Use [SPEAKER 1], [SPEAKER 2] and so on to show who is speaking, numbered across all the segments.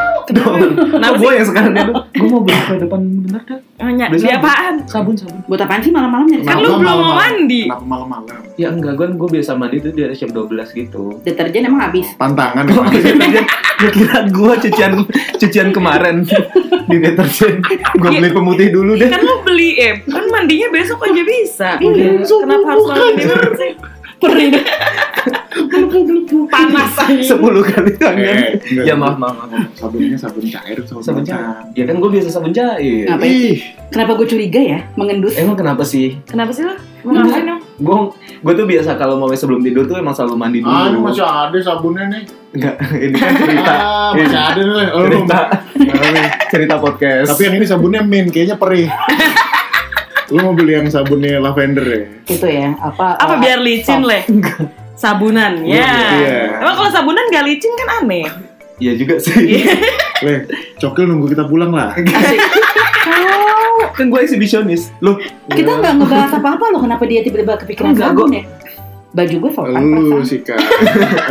[SPEAKER 1] beli.
[SPEAKER 2] Kenapa
[SPEAKER 1] Kenapa
[SPEAKER 2] sih?
[SPEAKER 1] gue yang sekarang itu? Gue mau beli ke depan kan? bentar dah.
[SPEAKER 2] Nanya,
[SPEAKER 1] Beli
[SPEAKER 2] beli
[SPEAKER 1] sabun.
[SPEAKER 2] Oh, apaan?
[SPEAKER 1] Sabun, sabun.
[SPEAKER 3] Buat apaan sih malam-malam nyari
[SPEAKER 2] Kan
[SPEAKER 3] sabun?
[SPEAKER 2] lu
[SPEAKER 4] Malam-malam,
[SPEAKER 2] belum mau
[SPEAKER 4] malam-malam.
[SPEAKER 2] mandi.
[SPEAKER 4] Kenapa malam-malam?
[SPEAKER 1] Ya enggak, gue gue biasa mandi tuh di atas jam 12 gitu.
[SPEAKER 3] Deterjen emang habis.
[SPEAKER 4] Pantangan.
[SPEAKER 1] Oh, iya.
[SPEAKER 4] ya,
[SPEAKER 1] Gue kira gue cucian cucian kemarin di deterjen. Gue beli pemutih dulu deh.
[SPEAKER 2] Kan lu beli, eh, kan mandinya besok aja bisa.
[SPEAKER 3] Iya,
[SPEAKER 2] Kenapa harus malam ini sih?
[SPEAKER 3] Perih.
[SPEAKER 2] Panas aja.
[SPEAKER 1] 10 kali tangan.
[SPEAKER 4] Eh, enggak.
[SPEAKER 1] ya maaf, maaf, maaf.
[SPEAKER 4] Sabunnya sabun cair, sabun,
[SPEAKER 1] Sabun
[SPEAKER 4] cair.
[SPEAKER 1] Ya kan gue biasa sabun cair.
[SPEAKER 3] Apa ya?
[SPEAKER 4] Ih,
[SPEAKER 3] Kenapa gue curiga ya?
[SPEAKER 2] Eh,
[SPEAKER 3] Mengendus.
[SPEAKER 1] Emang kenapa sih?
[SPEAKER 2] Kenapa sih
[SPEAKER 1] Iya.
[SPEAKER 2] lu? Mau ngapain dong?
[SPEAKER 1] Gue gue tuh biasa kalau mau sebelum tidur tuh emang selalu mandi dulu.
[SPEAKER 4] ah ini masih ada sabunnya nih.
[SPEAKER 1] Enggak, ini kan cerita.
[SPEAKER 4] Ah, masih ada nih. Oh,
[SPEAKER 1] cerita cerita podcast.
[SPEAKER 4] Tapi yang ini sabunnya mint, kayaknya perih. Lu mau beli yang sabunnya lavender ya?
[SPEAKER 3] Itu ya. Apa?
[SPEAKER 2] Apa
[SPEAKER 3] eh,
[SPEAKER 2] biar licin,
[SPEAKER 3] soft.
[SPEAKER 2] leh?
[SPEAKER 1] Iya,
[SPEAKER 2] Sabunan, ya.
[SPEAKER 4] Iya.
[SPEAKER 2] Emang kalau sabunan gak licin kan aneh.
[SPEAKER 1] ya juga sih.
[SPEAKER 4] Leh, cokil nunggu kita pulang lah.
[SPEAKER 1] kan gue eksibisionis. Loh,
[SPEAKER 3] Kita nggak ngebahas apa-apa loh. Kenapa dia tiba-tiba kepikiran
[SPEAKER 1] Enggak,
[SPEAKER 3] sabun ya? Baju gue sopan
[SPEAKER 4] Lu
[SPEAKER 3] perasaan.
[SPEAKER 4] sih kak,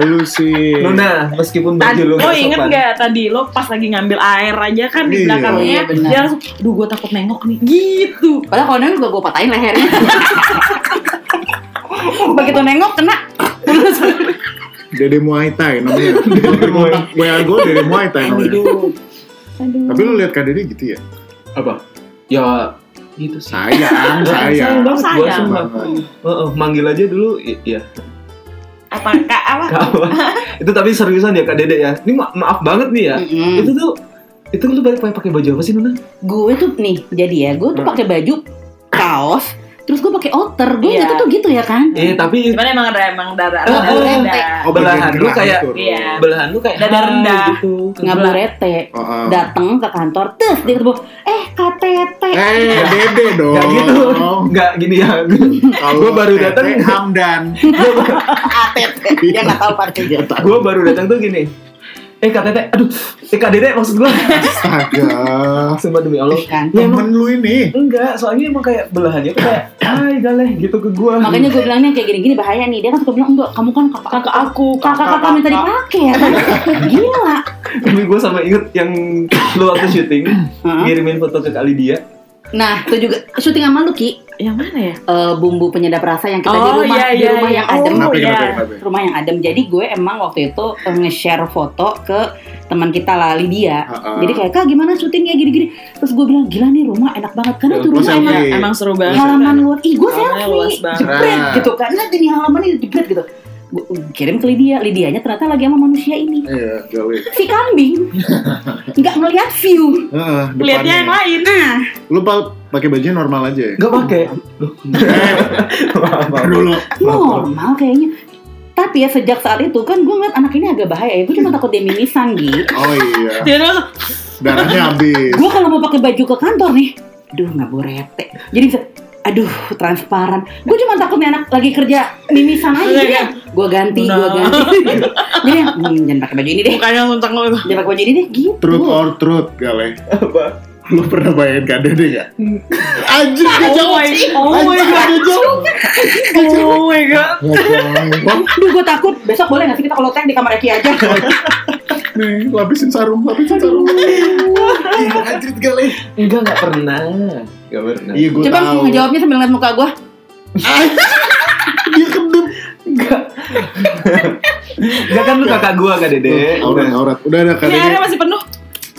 [SPEAKER 4] lu sih.
[SPEAKER 1] Luna, meskipun baju
[SPEAKER 2] Tadi,
[SPEAKER 1] lu
[SPEAKER 2] lo
[SPEAKER 1] Oh, nggak
[SPEAKER 2] inget
[SPEAKER 1] sopan.
[SPEAKER 2] gak tadi lo pas lagi ngambil air aja kan di
[SPEAKER 4] Iya.
[SPEAKER 2] belakangnya
[SPEAKER 3] Iya, benar.
[SPEAKER 2] dia langsung, duh gue takut nengok nih gitu.
[SPEAKER 3] Padahal kalau nengok juga gue patahin lehernya. Begitu nengok kena.
[SPEAKER 4] Dede Muay Thai namanya. WA gue Dede Muay Thai namanya.
[SPEAKER 3] Aduh.
[SPEAKER 4] Tapi lu lihat kak Dede gitu ya?
[SPEAKER 1] Apa? Ya gitu sih. sayang
[SPEAKER 4] Sayang, sayang.
[SPEAKER 1] banget gue
[SPEAKER 2] Sayang.
[SPEAKER 1] sumpah. Heeh, manggil aja dulu i- iya.
[SPEAKER 2] Apa kak apa?
[SPEAKER 1] Kak Awan. itu tapi seriusan ya Kak Dede ya. Ini ma- maaf banget nih ya.
[SPEAKER 2] Hmm.
[SPEAKER 3] Mm-mm.
[SPEAKER 1] Itu tuh itu lu balik pakai baju apa sih Luna?
[SPEAKER 3] gue tuh nih jadi ya gue tuh
[SPEAKER 1] Hmm.
[SPEAKER 3] pakai baju kaos terus gue pakai outer gue
[SPEAKER 2] Iya.
[SPEAKER 3] itu tuh gitu ya kan
[SPEAKER 1] Eh tapi
[SPEAKER 2] Cuman emang ada emang darah
[SPEAKER 1] Oh,
[SPEAKER 2] darah
[SPEAKER 1] oh,
[SPEAKER 2] rendah.
[SPEAKER 4] Oh, bagian
[SPEAKER 1] Belahan lu
[SPEAKER 4] gerak
[SPEAKER 1] kayak-
[SPEAKER 4] gitu.
[SPEAKER 2] Iya.
[SPEAKER 1] belahan lu kayak
[SPEAKER 2] Dada
[SPEAKER 1] hai
[SPEAKER 2] rendah.
[SPEAKER 1] gitu.
[SPEAKER 3] ngaburete
[SPEAKER 4] Oh, oh.
[SPEAKER 3] dateng ke kantor terus dia ketemu eh KTT
[SPEAKER 4] Eh, Dede dong.
[SPEAKER 1] Gak gitu. Gak gini ya.
[SPEAKER 4] Kalau
[SPEAKER 1] Gua baru
[SPEAKER 4] Tete
[SPEAKER 1] datang.
[SPEAKER 4] Eh, Hamdan.
[SPEAKER 3] KTT dia nggak tahu pakai gitu
[SPEAKER 1] gue baru datang tuh gini. Eh Kak Tete, aduh, eh Kak Dede maksud gue.
[SPEAKER 4] Astaga.
[SPEAKER 1] Sumpah demi Allah.
[SPEAKER 3] kan
[SPEAKER 2] Iya,
[SPEAKER 1] Ya,
[SPEAKER 4] Temen lu ini.
[SPEAKER 1] Enggak, soalnya emang kayak belahannya tuh kayak Hai galeh gitu ke gua
[SPEAKER 3] makanya gue bilangnya kayak gini-gini bahaya nih dia kan suka bilang enggak kamu kan kakak
[SPEAKER 2] Kakak aku
[SPEAKER 3] kakak kakak minta dipakai ya kan gila
[SPEAKER 1] Tapi gua sama inget yang lu waktu syuting
[SPEAKER 3] Heeh.
[SPEAKER 4] Iya.
[SPEAKER 1] Ngirimin foto ke kali dia
[SPEAKER 3] nah itu juga syuting sama lu ki
[SPEAKER 2] yang mana ya?
[SPEAKER 3] Eh, bumbu penyedap rasa yang kita di
[SPEAKER 2] Oh,
[SPEAKER 3] rumah
[SPEAKER 2] iya,
[SPEAKER 3] di
[SPEAKER 2] iya,
[SPEAKER 3] rumah
[SPEAKER 2] iya.
[SPEAKER 3] yang adem
[SPEAKER 2] Oh,
[SPEAKER 4] Kenapa,
[SPEAKER 2] iya.
[SPEAKER 4] kenapa, kenapa?
[SPEAKER 3] rumah yang adem jadi gue emang waktu itu eh, nge-share foto ke teman kita lah Lydia
[SPEAKER 4] Heeh.
[SPEAKER 3] jadi kayak kak gimana syutingnya gini-gini terus gue bilang gila nih rumah enak banget karena
[SPEAKER 1] Ya,
[SPEAKER 3] tuh
[SPEAKER 4] lu
[SPEAKER 3] rumah
[SPEAKER 4] selfie.
[SPEAKER 3] emang
[SPEAKER 4] Iya.
[SPEAKER 2] Emang seru banget.
[SPEAKER 3] halaman luas ih gue
[SPEAKER 2] Halamannya luas
[SPEAKER 3] selfie
[SPEAKER 2] banget.
[SPEAKER 3] jebret
[SPEAKER 4] Nah.
[SPEAKER 3] gitu kan lihat ini halaman ini jebret gitu gue kirim ke Lydia Lydianya ternyata lagi sama manusia ini
[SPEAKER 4] Iya, galih.
[SPEAKER 3] si kambing nggak ngeliat view
[SPEAKER 4] Heeh,
[SPEAKER 2] Lihatnya yang
[SPEAKER 4] depannya.
[SPEAKER 2] lain.
[SPEAKER 4] Lu pal- pakai bajunya normal aja ya? Eh,
[SPEAKER 1] Gak pake
[SPEAKER 4] Ntar dulu.
[SPEAKER 3] normal kayaknya tapi ya sejak saat itu kan gue ngeliat anak ini agak bahaya ya gue cuma takut dia mimisan gitu
[SPEAKER 4] Oh iya.
[SPEAKER 2] Dia langsung
[SPEAKER 4] Darahnya habis.
[SPEAKER 3] gue kalau mau pakai baju ke kantor nih aduh nggak boleh rete jadi bisa aduh transparan gue cuma takut nih anak lagi kerja mimisan aja jadi
[SPEAKER 2] Iya.
[SPEAKER 3] gue ganti gue
[SPEAKER 2] Nah.
[SPEAKER 3] ganti jadi hmm, jangan pakai baju ini deh
[SPEAKER 2] mukanya langsung tengok itu.
[SPEAKER 3] jangan pakai baju ini deh gitu
[SPEAKER 4] Truth or truth, Galeh.
[SPEAKER 1] Apa?
[SPEAKER 4] Lu pernah bayangin Kak Dede gak? Anjir, dia
[SPEAKER 2] Hmm. Oh
[SPEAKER 4] jawab.
[SPEAKER 2] my, oh my
[SPEAKER 4] Anjir,
[SPEAKER 2] god,
[SPEAKER 4] dia jawab.
[SPEAKER 2] oh my god.
[SPEAKER 4] Ngomong.
[SPEAKER 3] aduh gue takut besok boleh nggak sih kita kalau teh di kamar Eki aja
[SPEAKER 4] Nih, lapisin sarung, lapisin sarung. Iya, Anjir, Galeh.
[SPEAKER 1] Enggak, gak pernah Gak pernah
[SPEAKER 4] Iya, gue
[SPEAKER 3] coba
[SPEAKER 4] tahu.
[SPEAKER 3] ngejawabnya sambil ngeliat muka gue
[SPEAKER 4] Dia kedem.
[SPEAKER 1] Enggak Enggak kan lu kakak gua Kak Dede
[SPEAKER 4] Aurat, aurat. Udah ada
[SPEAKER 3] Iya,
[SPEAKER 4] Kak
[SPEAKER 2] Ini
[SPEAKER 4] Dede.
[SPEAKER 2] airnya masih penuh.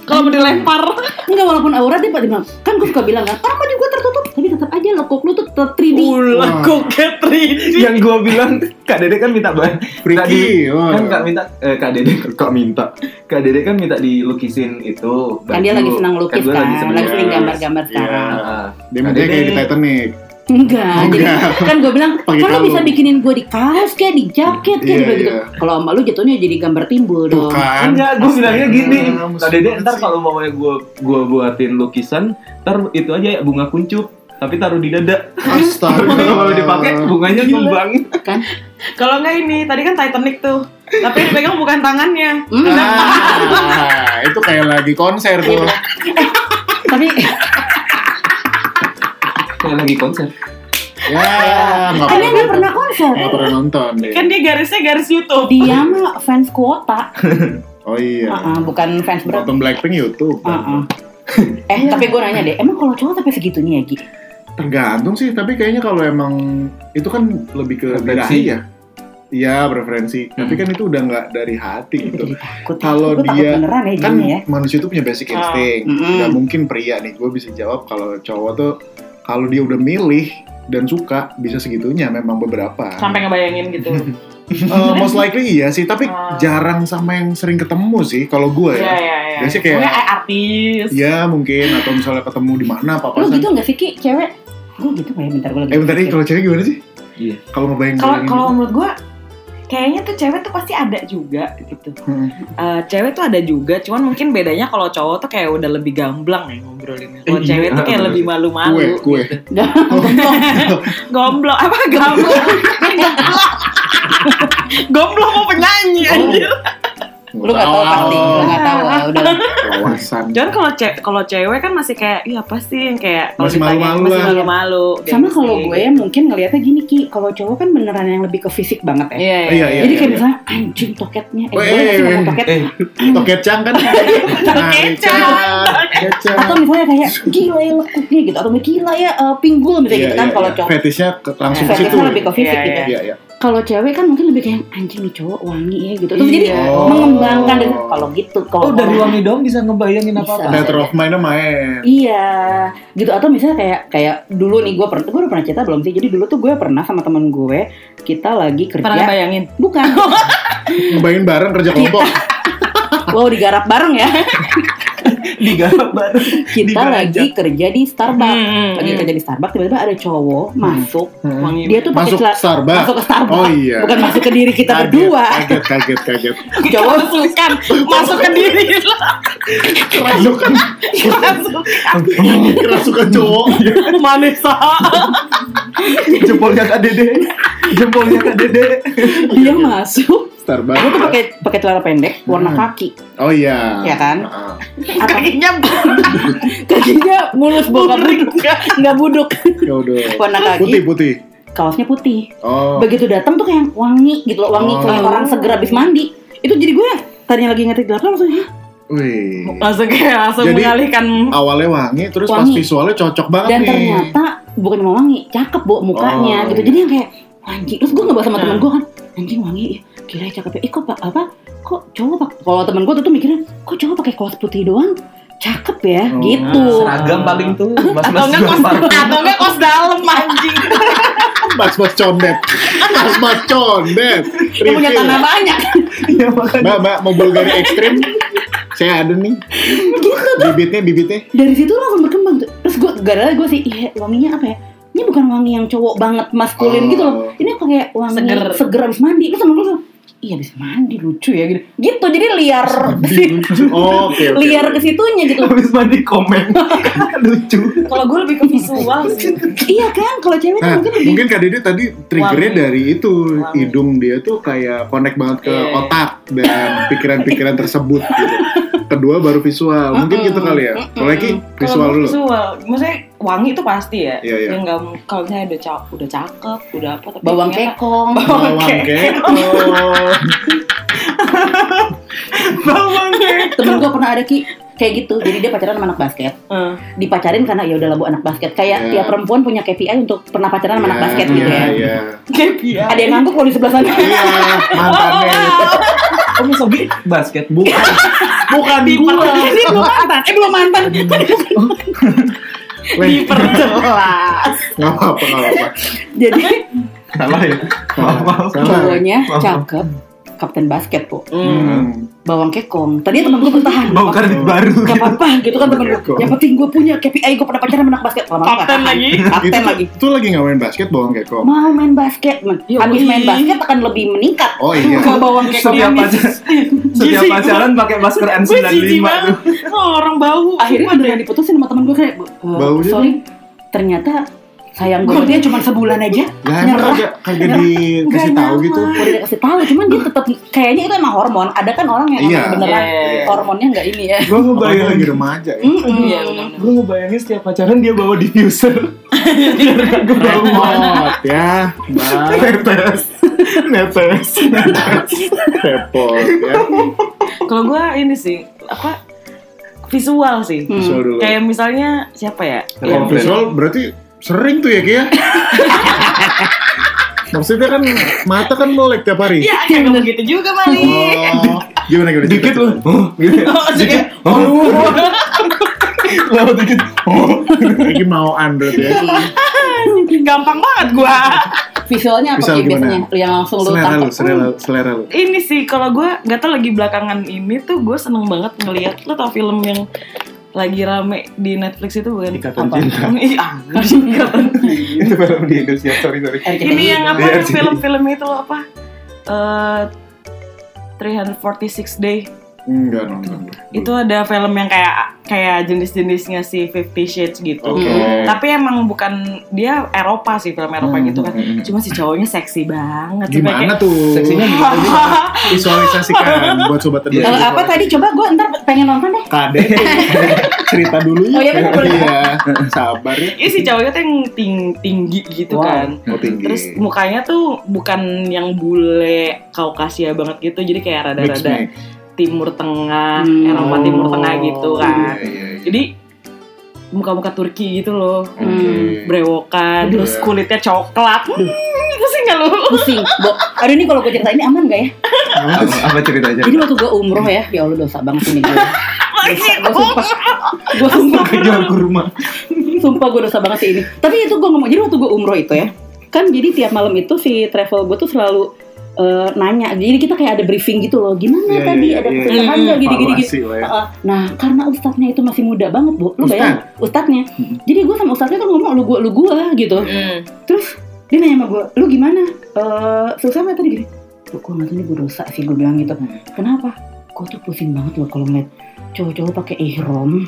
[SPEAKER 2] Kalau mau dilempar.
[SPEAKER 3] enggak walaupun aurat dia pasti bilang kan gue suka bilang kan orang mandi gue tertutup tapi tetap aja lekuk lu tuh tetap 3D
[SPEAKER 2] Ulah koket Ridi.
[SPEAKER 1] Yang gua bilang Kak Dede kan minta banget
[SPEAKER 4] Freaky. oh.
[SPEAKER 1] Kan Kak minta eh, Kak Dede Kak minta Kak Dede kan minta dilukisin itu
[SPEAKER 3] kan dia
[SPEAKER 1] baju.
[SPEAKER 3] lagi senang lukis
[SPEAKER 1] gua
[SPEAKER 3] kan lagi,
[SPEAKER 1] senang
[SPEAKER 3] sering
[SPEAKER 1] lukis.
[SPEAKER 3] gambar-gambar sekarang
[SPEAKER 1] Ah.
[SPEAKER 4] Dia mintanya kayak di
[SPEAKER 1] Dede.
[SPEAKER 4] Titanic.
[SPEAKER 3] Enggak, jadi
[SPEAKER 4] Enggak.
[SPEAKER 3] kan gue bilang kan
[SPEAKER 4] Pakai
[SPEAKER 3] lo
[SPEAKER 4] kalung.
[SPEAKER 3] bisa bikinin gue di kaos kayak di jaket kayak
[SPEAKER 4] Iya,
[SPEAKER 3] gitu gitu.
[SPEAKER 4] iya.
[SPEAKER 3] Kalau sama lu jatuhnya jadi gambar timbul
[SPEAKER 4] Tuh
[SPEAKER 3] dong.
[SPEAKER 4] kan.
[SPEAKER 1] Enggak, gue bilangnya gini.
[SPEAKER 4] Astaga,
[SPEAKER 1] Kak Dede
[SPEAKER 4] mesti
[SPEAKER 1] ntar
[SPEAKER 4] banget
[SPEAKER 1] kalau mau gue gua buatin lukisan, ntar itu aja ya bunga kuncup. Tapi taruh di dada.
[SPEAKER 4] sih. Astaga.
[SPEAKER 1] kalau dipakai bunganya tumbang.
[SPEAKER 3] Kan?
[SPEAKER 2] Kalau nggak ini, tadi kan Titanic tuh. Tapi yang dipegang bukan tangannya.
[SPEAKER 3] Hmm,
[SPEAKER 4] Ah, itu kayak lagi konser tuh.
[SPEAKER 3] Iya. tapi
[SPEAKER 1] Kayak lagi konser.
[SPEAKER 4] Ya, nggak
[SPEAKER 3] kan dia nggak
[SPEAKER 4] pernah.
[SPEAKER 3] pernah konser. Kan
[SPEAKER 4] Nggak pernah nonton deh.
[SPEAKER 2] Kan dia garisnya garis YouTube.
[SPEAKER 3] Dia mah fans kuota.
[SPEAKER 4] Oh iya.
[SPEAKER 3] Ah, ah, bukan fans berat.
[SPEAKER 4] Nonton Blackpink YouTube.
[SPEAKER 3] Ah, ah. eh
[SPEAKER 4] Iya.
[SPEAKER 3] tapi gue nanya deh, emang kalau cowok sampai segitunya ya Gi?
[SPEAKER 4] Tergantung sih, tapi kayaknya kalau emang itu kan lebih ke
[SPEAKER 1] Preferensi.
[SPEAKER 4] birahi ya. Iya, preferensi. Tapi kan itu udah nggak dari hati
[SPEAKER 3] Gue
[SPEAKER 4] gitu.
[SPEAKER 3] jadi takut.
[SPEAKER 4] Kalau
[SPEAKER 3] Gua takut
[SPEAKER 4] dia-
[SPEAKER 3] beneran ya
[SPEAKER 4] Kan
[SPEAKER 3] jadinya ya.
[SPEAKER 4] manusia itu punya basic
[SPEAKER 2] Ah,
[SPEAKER 4] instinct.
[SPEAKER 3] mm-mm.
[SPEAKER 4] Nggak mungkin pria nih, gue bisa jawab kalau cowok tuh kalau dia udah milih dan suka bisa segitunya memang beberapa.
[SPEAKER 2] sampai ngebayangin gitu.
[SPEAKER 4] Eh, most likely iya sih, tapi
[SPEAKER 2] Ah.
[SPEAKER 4] jarang sama yang sering ketemu sih kalau
[SPEAKER 2] Iya,
[SPEAKER 4] gue ya.
[SPEAKER 2] iya, iya.
[SPEAKER 4] Biasanya kayak-
[SPEAKER 2] Soalnya artis.
[SPEAKER 4] Ya mungkin atau misalnya ketemu di mana
[SPEAKER 3] Lu
[SPEAKER 4] papasan.
[SPEAKER 3] gitu gak sih Ki, cewek? Gue gitu gak ya, bentar gue lagi
[SPEAKER 4] Eh bentar nih, kalau cewek gimana sih?
[SPEAKER 1] Iya.
[SPEAKER 4] Kalau gitu. ngebayang
[SPEAKER 2] Kalau kalau menurut gua kayaknya tuh cewek tuh pasti ada juga gitu. Eh, cewek tuh ada juga, cuman mungkin bedanya kalau cowok tuh kayak udah lebih gamblang ya ngobrolinnya. Kalau
[SPEAKER 1] Eh,
[SPEAKER 2] cewek
[SPEAKER 1] iya,
[SPEAKER 2] tuh kayak
[SPEAKER 1] bener.
[SPEAKER 2] lebih
[SPEAKER 4] kue
[SPEAKER 2] malu-malu.
[SPEAKER 4] kue.
[SPEAKER 2] Gomblok apa gamblang? Gomblok mau penyanyi anjir.
[SPEAKER 3] Lu gak tau pasti,
[SPEAKER 4] Oh.
[SPEAKER 3] lu gak tau lah Ah, udah
[SPEAKER 4] Wawasan.
[SPEAKER 2] Cuman kalau cewek kalau cewek kan masih kayak iya apa sih yang kayak kalau
[SPEAKER 4] Masih
[SPEAKER 2] ditanya,
[SPEAKER 4] malu-malu
[SPEAKER 2] masih
[SPEAKER 4] lah.
[SPEAKER 2] malu-malu. gitu
[SPEAKER 3] Sama
[SPEAKER 4] Iya
[SPEAKER 2] gengsi.
[SPEAKER 3] kalau gue ya mungkin ngelihatnya gini Ki, kalau cowok kan beneran yang lebih ke fisik banget ya.
[SPEAKER 2] Iya,
[SPEAKER 4] Iya, iya.
[SPEAKER 3] Jadi kayak misalnya anjing toketnya, eh
[SPEAKER 4] Oh,
[SPEAKER 3] boleh nggak sih
[SPEAKER 4] eh,
[SPEAKER 3] ngomong
[SPEAKER 4] eh,
[SPEAKER 3] toket?
[SPEAKER 1] eh
[SPEAKER 4] Tokecang kan.
[SPEAKER 2] Tokecang.
[SPEAKER 4] Tokecang.
[SPEAKER 3] Atau misalnya kayak gila ya lekuknya gitu, atau gila ya eh, pinggul
[SPEAKER 4] Iya,
[SPEAKER 3] misalnya gitu kan kalau cowok.
[SPEAKER 4] Fetishnya ke- langsung ke situ.
[SPEAKER 3] Fetishnya lebih ke fisik
[SPEAKER 2] Iya,
[SPEAKER 3] gitu.
[SPEAKER 4] Iya iya.
[SPEAKER 3] Kalau cewek kan mungkin lebih kayak anjing nih cowok wangi ya gitu. Terus jadi
[SPEAKER 2] Iya.
[SPEAKER 4] Oh.
[SPEAKER 3] mengembangkan dan kalau gitu kalau
[SPEAKER 1] Oh dari
[SPEAKER 3] orang-
[SPEAKER 1] wangi doang bisa ngebayangin apa-apa.
[SPEAKER 4] Theater of mind main.
[SPEAKER 3] Iya, gitu atau misalnya kayak kayak dulu nih gue pernah, gue udah pernah cerita belum sih? Jadi dulu tuh gue pernah sama temen gue kita lagi
[SPEAKER 2] Pernah
[SPEAKER 3] kerja,
[SPEAKER 2] bayangin?
[SPEAKER 3] bukan? Iya.
[SPEAKER 4] Ngebayangin bareng kerja kelompok.
[SPEAKER 3] wow digarap bareng ya.
[SPEAKER 1] Digarap banget.
[SPEAKER 3] Kita lagi kerja di Starbucks,
[SPEAKER 2] Hmm,
[SPEAKER 3] lagi
[SPEAKER 2] hmm.
[SPEAKER 3] kerja di Starbucks tiba-tiba ada cowok masuk,
[SPEAKER 4] Hmm.
[SPEAKER 2] Wangi.
[SPEAKER 3] dia tuh pakai
[SPEAKER 4] Masuk
[SPEAKER 3] celana
[SPEAKER 4] Starbucks.
[SPEAKER 3] masuk ke Starbucks,
[SPEAKER 4] Oh iya.
[SPEAKER 3] bukan masuk ke diri kita
[SPEAKER 4] Kaget,
[SPEAKER 3] berdua.
[SPEAKER 4] Kaget kaget kaget.
[SPEAKER 3] Cowok kan.
[SPEAKER 2] masukan masuk ke diri lo
[SPEAKER 4] Kerasukan
[SPEAKER 2] masuk
[SPEAKER 4] kerasukan cowok.
[SPEAKER 2] Manisa
[SPEAKER 1] Jempolnya Kak Dede. Jempolnya Kak Dede.
[SPEAKER 3] dia masuk,
[SPEAKER 4] Starbucks.
[SPEAKER 3] dia tuh pakai pakai celana pendek warna
[SPEAKER 4] Hmm.
[SPEAKER 3] kaki,
[SPEAKER 4] Oh iya.
[SPEAKER 3] Iya kan?
[SPEAKER 4] Heeh.
[SPEAKER 3] atau
[SPEAKER 2] kakinya
[SPEAKER 3] kakinya mulus bokap
[SPEAKER 2] burik
[SPEAKER 3] nggak buduk,
[SPEAKER 4] Ya udah.
[SPEAKER 3] warna
[SPEAKER 4] Putih
[SPEAKER 3] kaki,
[SPEAKER 4] putih.
[SPEAKER 3] kaosnya putih.
[SPEAKER 4] Oh.
[SPEAKER 3] begitu datang tuh kayak wangi gitu loh wangi
[SPEAKER 4] Oh.
[SPEAKER 3] kayak orang seger habis mandi itu jadi gue tadinya lagi ngetik gelap langsung "Hah?"
[SPEAKER 4] Wih.
[SPEAKER 2] langsung kayak langsung
[SPEAKER 4] Jadi-
[SPEAKER 2] mengalihkan
[SPEAKER 4] Awalnya wangi, terus pas
[SPEAKER 3] Wangi.
[SPEAKER 4] visualnya cocok banget
[SPEAKER 3] dan
[SPEAKER 4] nih.
[SPEAKER 3] ternyata bukan cuma wangi cakep bu mukanya
[SPEAKER 4] Oh.
[SPEAKER 3] gitu jadi yang kayak wangi terus gue ngebahas sama
[SPEAKER 2] Hmm.
[SPEAKER 3] temen gue kan anjing wangi ya gila ya cakep ya eh kok pak apa kok cowok pak kalau temen gue tuh, tuh mikirnya kok cowok pakai kaos putih doang cakep ya
[SPEAKER 4] Oh.
[SPEAKER 3] gitu
[SPEAKER 1] Seragam paling tuh.
[SPEAKER 2] atau
[SPEAKER 1] Mas-mas
[SPEAKER 2] enggak kos
[SPEAKER 1] Gopar.
[SPEAKER 2] atau enggak kos dalam anjing
[SPEAKER 4] Mas-mas condet. Mas-mas condet.
[SPEAKER 3] dia punya
[SPEAKER 4] Refill.
[SPEAKER 3] tanah banyak
[SPEAKER 1] Iya makanya.
[SPEAKER 4] Mbak, mbak, mau Bulgari ekstrim? Saya ada nih. Bibitnya, bibitnya.
[SPEAKER 3] dari situ langsung berkembang tuh terus gue gara-gara gue sih iya wanginya apa ya ini bukan wangi yang cowok banget maskulin
[SPEAKER 4] Oh.
[SPEAKER 3] gitu loh ini kayak wangi
[SPEAKER 2] Seger.
[SPEAKER 3] seger, abis mandi terus temen gue bilang, iya abis mandi lucu ya gitu gitu jadi liar
[SPEAKER 4] Oh, oke, oke.
[SPEAKER 3] liar ke situnya gitu
[SPEAKER 1] Habis mandi komen. Lucu.
[SPEAKER 2] kalau gue lebih ke visual sih
[SPEAKER 3] iya kan kalau cewek
[SPEAKER 4] Nah,
[SPEAKER 3] kan mungkin lebih
[SPEAKER 4] mungkin Kak Dede tadi triggernya
[SPEAKER 2] Wangi.
[SPEAKER 4] dari itu
[SPEAKER 2] Wangi.
[SPEAKER 4] hidung dia tuh kayak connect banget ke
[SPEAKER 2] Iya, iya.
[SPEAKER 4] otak dan pikiran-pikiran tersebut gitu. Kedua baru visual, mungkin gitu kali ya. Mulai Ki,
[SPEAKER 2] Kalau
[SPEAKER 4] visual dulu.
[SPEAKER 2] visual maksudnya wangi itu pasti ya
[SPEAKER 4] Iya, iya.
[SPEAKER 2] yang nggak kalau misalnya udah cakep udah cakep udah apa tapi
[SPEAKER 3] bawang
[SPEAKER 2] ternyata-
[SPEAKER 3] kekong
[SPEAKER 4] Bawang
[SPEAKER 2] Oke.
[SPEAKER 4] keto.
[SPEAKER 2] bawang kek
[SPEAKER 3] temen gue pernah ada ki kayak gitu jadi dia pacaran sama anak basket
[SPEAKER 2] Eh,
[SPEAKER 3] dipacarin karena ya udah labu anak basket kayak
[SPEAKER 4] Iya.
[SPEAKER 3] tiap perempuan punya KPI untuk pernah pacaran sama anak
[SPEAKER 4] Iya,
[SPEAKER 3] basket gitu
[SPEAKER 4] iya,
[SPEAKER 3] ya
[SPEAKER 4] Iya,
[SPEAKER 2] KPI
[SPEAKER 3] ada yang ngangguk kalau di sebelah sana
[SPEAKER 4] iya. Mantannya.
[SPEAKER 1] Kamu sobi basket bukan.
[SPEAKER 4] Bukan gua.
[SPEAKER 3] Ini belum mantan, Iya. eh belum mantan.
[SPEAKER 4] Weh,
[SPEAKER 2] diperjelas
[SPEAKER 4] nggak apa-apa, nggak apa-apa.
[SPEAKER 3] Jadi
[SPEAKER 1] Salah ya. Maaf, maaf.
[SPEAKER 4] Salah.
[SPEAKER 3] cowoknya cakep, kapten basket tuh,
[SPEAKER 4] Hmm.
[SPEAKER 3] bawang kekong. Tadi temen gue bertahan.
[SPEAKER 1] Bau karbit baru gitu.
[SPEAKER 3] Gak apa-apa gitu kan temen gue. Yang penting gue punya KPI gue pernah pacaran sama anak basket. Lama-lama
[SPEAKER 2] kapten
[SPEAKER 3] nggak tahan.
[SPEAKER 2] lagi
[SPEAKER 4] Itu,
[SPEAKER 3] Kapten lagi. Gitu.
[SPEAKER 4] itu lagi nggak main basket bawang keko.
[SPEAKER 3] Mau main basket, men.
[SPEAKER 2] Yoi.
[SPEAKER 3] habis main basket akan lebih meningkat.
[SPEAKER 4] Oh iya.
[SPEAKER 3] Ke bawang
[SPEAKER 1] Setiap
[SPEAKER 3] kekong.
[SPEAKER 1] pacaran, setiap
[SPEAKER 2] Jijik
[SPEAKER 1] pacaran pakai masker
[SPEAKER 2] gue
[SPEAKER 1] N95
[SPEAKER 2] jijik
[SPEAKER 1] tuh.
[SPEAKER 2] banget Oh, orang bau
[SPEAKER 3] Akhirnya beneran diputusin sama temen gue kayak, "Bu, eh,
[SPEAKER 4] Baunya
[SPEAKER 3] sorry, ternyata sayang gue dia cuma sebulan aja.
[SPEAKER 4] Lah emang
[SPEAKER 3] Nyerah.
[SPEAKER 4] kagak kagak dikasih
[SPEAKER 2] Nggak
[SPEAKER 4] tahu gitu.
[SPEAKER 3] Udah dikasih tahu, cuman dia tetap kayaknya itu emang hormon. Ada kan orang yang
[SPEAKER 4] Iya.
[SPEAKER 3] emang beneran
[SPEAKER 2] Iya.
[SPEAKER 3] hormonnya nggak ini ya.
[SPEAKER 1] Gue
[SPEAKER 4] Apalagi lagi
[SPEAKER 1] ngebayangin. gitu.
[SPEAKER 4] remaja ya.
[SPEAKER 3] Mm-mm.
[SPEAKER 2] Iya, benar-benar.
[SPEAKER 1] Gue ngebayangin setiap pacaran dia bawa diffuser. Biar gak bau.
[SPEAKER 4] Repot ya. Bye.
[SPEAKER 1] Tetes. Netes.
[SPEAKER 4] repot ya
[SPEAKER 3] Hmm.
[SPEAKER 2] Kalau gue ini sih apa visual sih.
[SPEAKER 3] Hmm.
[SPEAKER 4] visual dulu
[SPEAKER 2] Kayak misalnya siapa ya?
[SPEAKER 4] kalau
[SPEAKER 2] Yang-
[SPEAKER 4] visual berarti sering tuh ya Kia maksudnya kan mata kan melek tiap hari
[SPEAKER 2] Ya, kayak begitu juga Mali.
[SPEAKER 3] Iya.
[SPEAKER 4] oh iya. gimana gimana
[SPEAKER 1] Dikit lu. huh, gitu.
[SPEAKER 2] Oh,
[SPEAKER 1] Dikit.
[SPEAKER 2] sedikit.
[SPEAKER 1] Oh. Lama dikit. Oh.
[SPEAKER 4] ini mau under ya
[SPEAKER 2] Gampang banget gua.
[SPEAKER 3] Visualnya apa
[SPEAKER 4] Visual
[SPEAKER 3] sih
[SPEAKER 4] gimana?
[SPEAKER 3] biasanya? Yang langsung lu
[SPEAKER 4] selera lu
[SPEAKER 3] tangkap.
[SPEAKER 4] selera lu selera lu
[SPEAKER 2] Ini sih kalau gua nggak tau lagi belakangan ini tuh gue seneng banget ngelihat lo tau film yang lagi rame di Netflix itu bukan?
[SPEAKER 1] Ikatan
[SPEAKER 2] Apa?
[SPEAKER 1] Cinta.
[SPEAKER 2] Iya, anjing, Ikatan
[SPEAKER 1] Itu film di Indonesia. Sorry, sorry.
[SPEAKER 3] RCTI.
[SPEAKER 2] ini yang apa
[SPEAKER 1] Iya,
[SPEAKER 2] yang
[SPEAKER 1] sih.
[SPEAKER 2] film-film itu loh, apa Eh 346 day
[SPEAKER 4] enggak nonton
[SPEAKER 2] itu ada film yang kayak kayak jenis-jenisnya si Fifty Shades gitu
[SPEAKER 4] oke
[SPEAKER 3] Hmm.
[SPEAKER 2] tapi emang bukan dia Eropa sih film Eropa
[SPEAKER 1] Hmm,
[SPEAKER 2] gitu kan
[SPEAKER 1] hmm, hmm.
[SPEAKER 2] cuma si cowoknya seksi banget Cuma
[SPEAKER 4] gimana
[SPEAKER 2] kayak-
[SPEAKER 4] tuh
[SPEAKER 1] Seksinya gimana?
[SPEAKER 4] visualisasikan buat sobat
[SPEAKER 3] Hmm.
[SPEAKER 4] teduh
[SPEAKER 3] Kalau apa tadi coba gue ntar pengen nonton deh.
[SPEAKER 4] kade cerita dulu ya
[SPEAKER 3] Oh, iya, bener, boleh.
[SPEAKER 4] Iya, sabar ya
[SPEAKER 2] Iya si cowoknya tuh yang ting- tinggi gitu
[SPEAKER 1] Wow.
[SPEAKER 2] kan
[SPEAKER 4] mau tinggi
[SPEAKER 2] Terus mukanya tuh bukan yang bule Kaukasia banget gitu, jadi kayak
[SPEAKER 4] Mix,
[SPEAKER 2] rada-rada
[SPEAKER 4] mix.
[SPEAKER 2] Timur Tengah,
[SPEAKER 3] Hmm.
[SPEAKER 2] Eropa Timur Tengah gitu
[SPEAKER 4] Oh,
[SPEAKER 2] kan.
[SPEAKER 4] iya, iya, iya.
[SPEAKER 2] Jadi muka-muka Turki gitu loh.
[SPEAKER 4] Oke. Iya.
[SPEAKER 2] brewokan
[SPEAKER 4] Aduh.
[SPEAKER 2] terus kulitnya coklat hmm, pusing gak lu
[SPEAKER 3] Pusing. Bo. Aduh ini kalau gue cerita ini aman gak ya?
[SPEAKER 1] Apa, apa
[SPEAKER 4] Iya.
[SPEAKER 1] ceritanya?
[SPEAKER 3] Jadi waktu gue umroh ya, ya Allah dosa banget ini gue.
[SPEAKER 2] lagi
[SPEAKER 4] Iya.
[SPEAKER 3] Gue sumpah, gue sumpah,
[SPEAKER 1] Kejar ke rumah.
[SPEAKER 3] sumpah gue dosa banget sih ini. Tapi itu gue ngomong, jadi waktu gue umroh itu ya, kan jadi tiap malam itu si travel gue tuh selalu eh, nanya. Jadi kita kayak ada briefing gitu loh, gimana
[SPEAKER 4] Iya,
[SPEAKER 3] tadi
[SPEAKER 4] iya,
[SPEAKER 3] ada
[SPEAKER 4] iya, iya.
[SPEAKER 3] kesulitan nggak gini-gini gitu.
[SPEAKER 4] Evaluasi lah ya.
[SPEAKER 3] Heeh. Nah, karena ustadznya itu masih muda banget, Bu. Lu
[SPEAKER 4] Ustadz?
[SPEAKER 3] bayangin, ustadznya. Jadi gue sama ustadznya tuh ngomong lu gua lu gua gitu.
[SPEAKER 2] Hmm,
[SPEAKER 3] Terus dia nanya sama gue, lu gimana? Eh, susah nggak tadi gini? Lu gue nggak tahu nih gue dosa sih gue bilang gitu.
[SPEAKER 4] Mm.
[SPEAKER 3] Kenapa? Gue tuh pusing banget loh kalau ngeliat cowok-cowok pakai ihrom.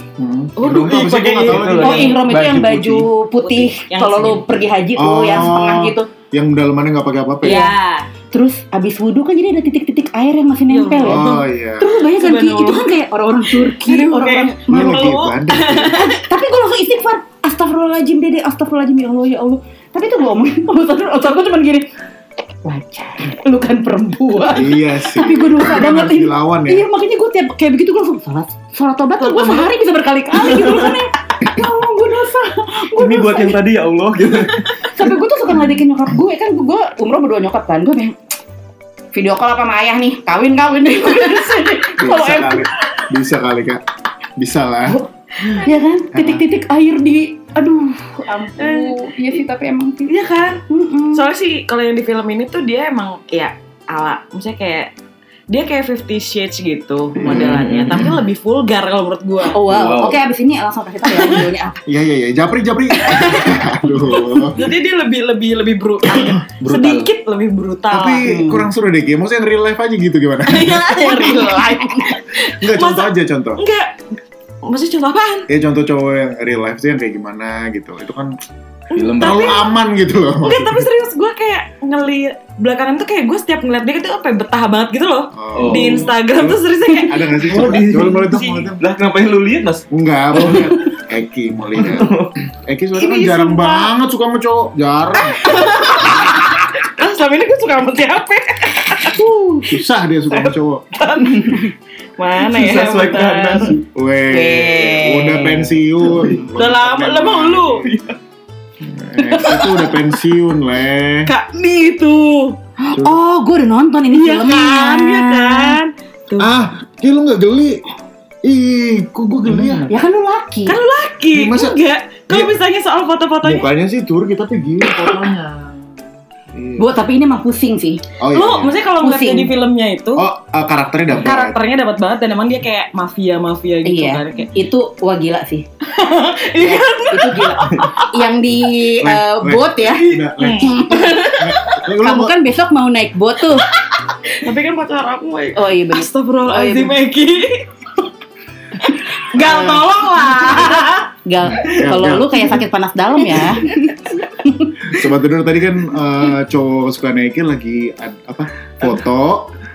[SPEAKER 2] Oh,
[SPEAKER 4] Aduh,
[SPEAKER 1] Dupi
[SPEAKER 4] apa sih?
[SPEAKER 1] pakai
[SPEAKER 4] Gua nggak tahu
[SPEAKER 1] ini.
[SPEAKER 4] lagi.
[SPEAKER 3] Oh, ihrom itu yang baju putih,
[SPEAKER 2] Putih, yang
[SPEAKER 3] kalau lu
[SPEAKER 2] segini.
[SPEAKER 3] pergi haji tuh
[SPEAKER 4] Oh.
[SPEAKER 3] yang setengah gitu.
[SPEAKER 4] yang dalamannya nggak pakai apa-apa ya
[SPEAKER 2] ya
[SPEAKER 3] Terus abis wudhu kan jadi ada titik-titik air yang masih nempel ya.
[SPEAKER 4] oh iya
[SPEAKER 3] Terus lu bayangin kan, Ki,
[SPEAKER 2] Subhanallah.
[SPEAKER 3] itu kan kayak orang-orang Turki,
[SPEAKER 2] Aduh,
[SPEAKER 3] orang-orang
[SPEAKER 4] Ini
[SPEAKER 2] Malu.
[SPEAKER 4] lagi ibadah
[SPEAKER 3] tapi gue langsung istighfar astagfirullahaladzim dede astagfirullahaladzim ya Allah ya Allah tapi itu gue omongin sama Ustadz Ustadz gue cuma gini wajar lu kan perempuan
[SPEAKER 4] iya sih
[SPEAKER 3] tapi gue dosa
[SPEAKER 4] Emang
[SPEAKER 3] banget
[SPEAKER 4] harus
[SPEAKER 3] ini
[SPEAKER 4] dilawan ya
[SPEAKER 3] iya makanya gue tiap kayak begitu gue langsung sholat sholat tobat tuh gue sehari bisa berkali-kali gitu kan ya Ya Allah gue dosa gue
[SPEAKER 1] Ini
[SPEAKER 3] dosa
[SPEAKER 1] buat yang tadi ya Allah gitu.
[SPEAKER 3] sampai gue tuh suka ngeledekin nyokap gue kan gue umroh berdua nyokap kan gue kayak video call apa sama ayah nih kawin kawin deh kalau
[SPEAKER 4] bisa
[SPEAKER 3] em
[SPEAKER 4] kali bisa kali kak bisa lah
[SPEAKER 3] ya kan titik-titik air di aduh ampun iya sih tapi emang sih
[SPEAKER 2] iya kan
[SPEAKER 3] Mm-mm.
[SPEAKER 2] soalnya sih kalau yang di film ini tuh dia emang ya ala misalnya kayak dia kayak Fifty Shades
[SPEAKER 4] Hmm.
[SPEAKER 2] gitu modelannya, tapi lebih vulgar kalau menurut gua.
[SPEAKER 3] Oh wow.
[SPEAKER 1] Wow.
[SPEAKER 3] Oke abis ini langsung kasih tahu ya videonya apa.
[SPEAKER 4] iya iya iya japri japri aduh
[SPEAKER 2] Jadi dia lebih lebih lebih brutal, ya.
[SPEAKER 1] Brutal.
[SPEAKER 2] sedikit lebih brutal.
[SPEAKER 4] tapi kurang seru deh Ki. maksudnya yang real life aja gitu gimana
[SPEAKER 2] Iya, yang real life.
[SPEAKER 4] enggak contoh
[SPEAKER 2] Masa-
[SPEAKER 4] aja contoh
[SPEAKER 2] Enggak, maksudnya contoh apaan?
[SPEAKER 4] ya contoh cowok yang real life tuh yang kayak gimana gitu itu kan
[SPEAKER 1] Film
[SPEAKER 4] terlalu aman gitu loh
[SPEAKER 2] Enggak, tapi serius gue kayak ngeliat belakangan tuh kayak gue setiap ngeliat dia tuh apa ya, betah banget gitu loh.
[SPEAKER 4] Oh.
[SPEAKER 2] Di Instagram tuh seriusnya kayak
[SPEAKER 4] ada nggak sih
[SPEAKER 1] Oh,
[SPEAKER 4] coba
[SPEAKER 1] di-
[SPEAKER 4] coba boleh tuh
[SPEAKER 1] di-
[SPEAKER 4] boleh tuh.
[SPEAKER 1] Lah kenapa yang lu lihat Mas?
[SPEAKER 4] enggak mau lihat Eki mau lihat Eki soalnya kan
[SPEAKER 2] Ini
[SPEAKER 4] jarang
[SPEAKER 2] sumpah.
[SPEAKER 4] banget suka sama cowok jarang
[SPEAKER 2] ah selama ini gue suka sama siapa? ya?"
[SPEAKER 4] susah dia suka sama cowok
[SPEAKER 2] Mana ya?
[SPEAKER 1] Susah swipe
[SPEAKER 2] bentar.
[SPEAKER 1] kanan.
[SPEAKER 4] Weh,
[SPEAKER 2] Weh.
[SPEAKER 4] udah pensiun.
[SPEAKER 2] Udah lama, lah mau lu.
[SPEAKER 4] Eh, itu udah pensiun, leh.
[SPEAKER 2] Kak Mi itu.
[SPEAKER 3] Oh, gue udah nonton ini
[SPEAKER 2] Iya kan, iya kan. Tuh.
[SPEAKER 4] Ah, ya lu nggak geli? Ih, kok gue geli ya?
[SPEAKER 3] Ya kan lu laki.
[SPEAKER 2] Kan lu laki,
[SPEAKER 4] Masa-
[SPEAKER 2] enggak. Kalau
[SPEAKER 4] Iya.
[SPEAKER 2] misalnya soal foto-fotonya,
[SPEAKER 4] Mukanya sih Turki tapi gini fotonya. Iya.
[SPEAKER 3] Gue tapi ini emang pusing sih.
[SPEAKER 4] Oh, iya,
[SPEAKER 2] lu
[SPEAKER 4] iya.
[SPEAKER 2] maksudnya kalau ngeliat dia
[SPEAKER 3] Pusing.
[SPEAKER 2] di filmnya itu
[SPEAKER 4] Oh, eh, karakternya dapat.
[SPEAKER 2] karakternya dapat banget dan emang dia kayak mafia-mafia gitu
[SPEAKER 3] Iya.
[SPEAKER 2] kan kayak
[SPEAKER 3] Itu wah gila sih.
[SPEAKER 2] Iya.
[SPEAKER 3] Itu gila. Yang di
[SPEAKER 4] Leh,
[SPEAKER 3] eh,
[SPEAKER 4] leh.
[SPEAKER 3] bot ya.
[SPEAKER 4] Udah, leh. Leh, lu
[SPEAKER 3] Kamu
[SPEAKER 4] mau-
[SPEAKER 3] kan besok mau naik bot tuh.
[SPEAKER 2] tapi kan pacar aku kayak
[SPEAKER 3] Oh iya bener.
[SPEAKER 2] Astagfirullahaladzim
[SPEAKER 3] Oh,
[SPEAKER 2] Eki Gal tolong lah
[SPEAKER 3] Gal,
[SPEAKER 4] Ya, Gal.
[SPEAKER 3] kalau lu kayak sakit panas dalam ya.
[SPEAKER 4] Sobat tidur tadi kan eh, cowok kesukaan Eki lagi ad- apa foto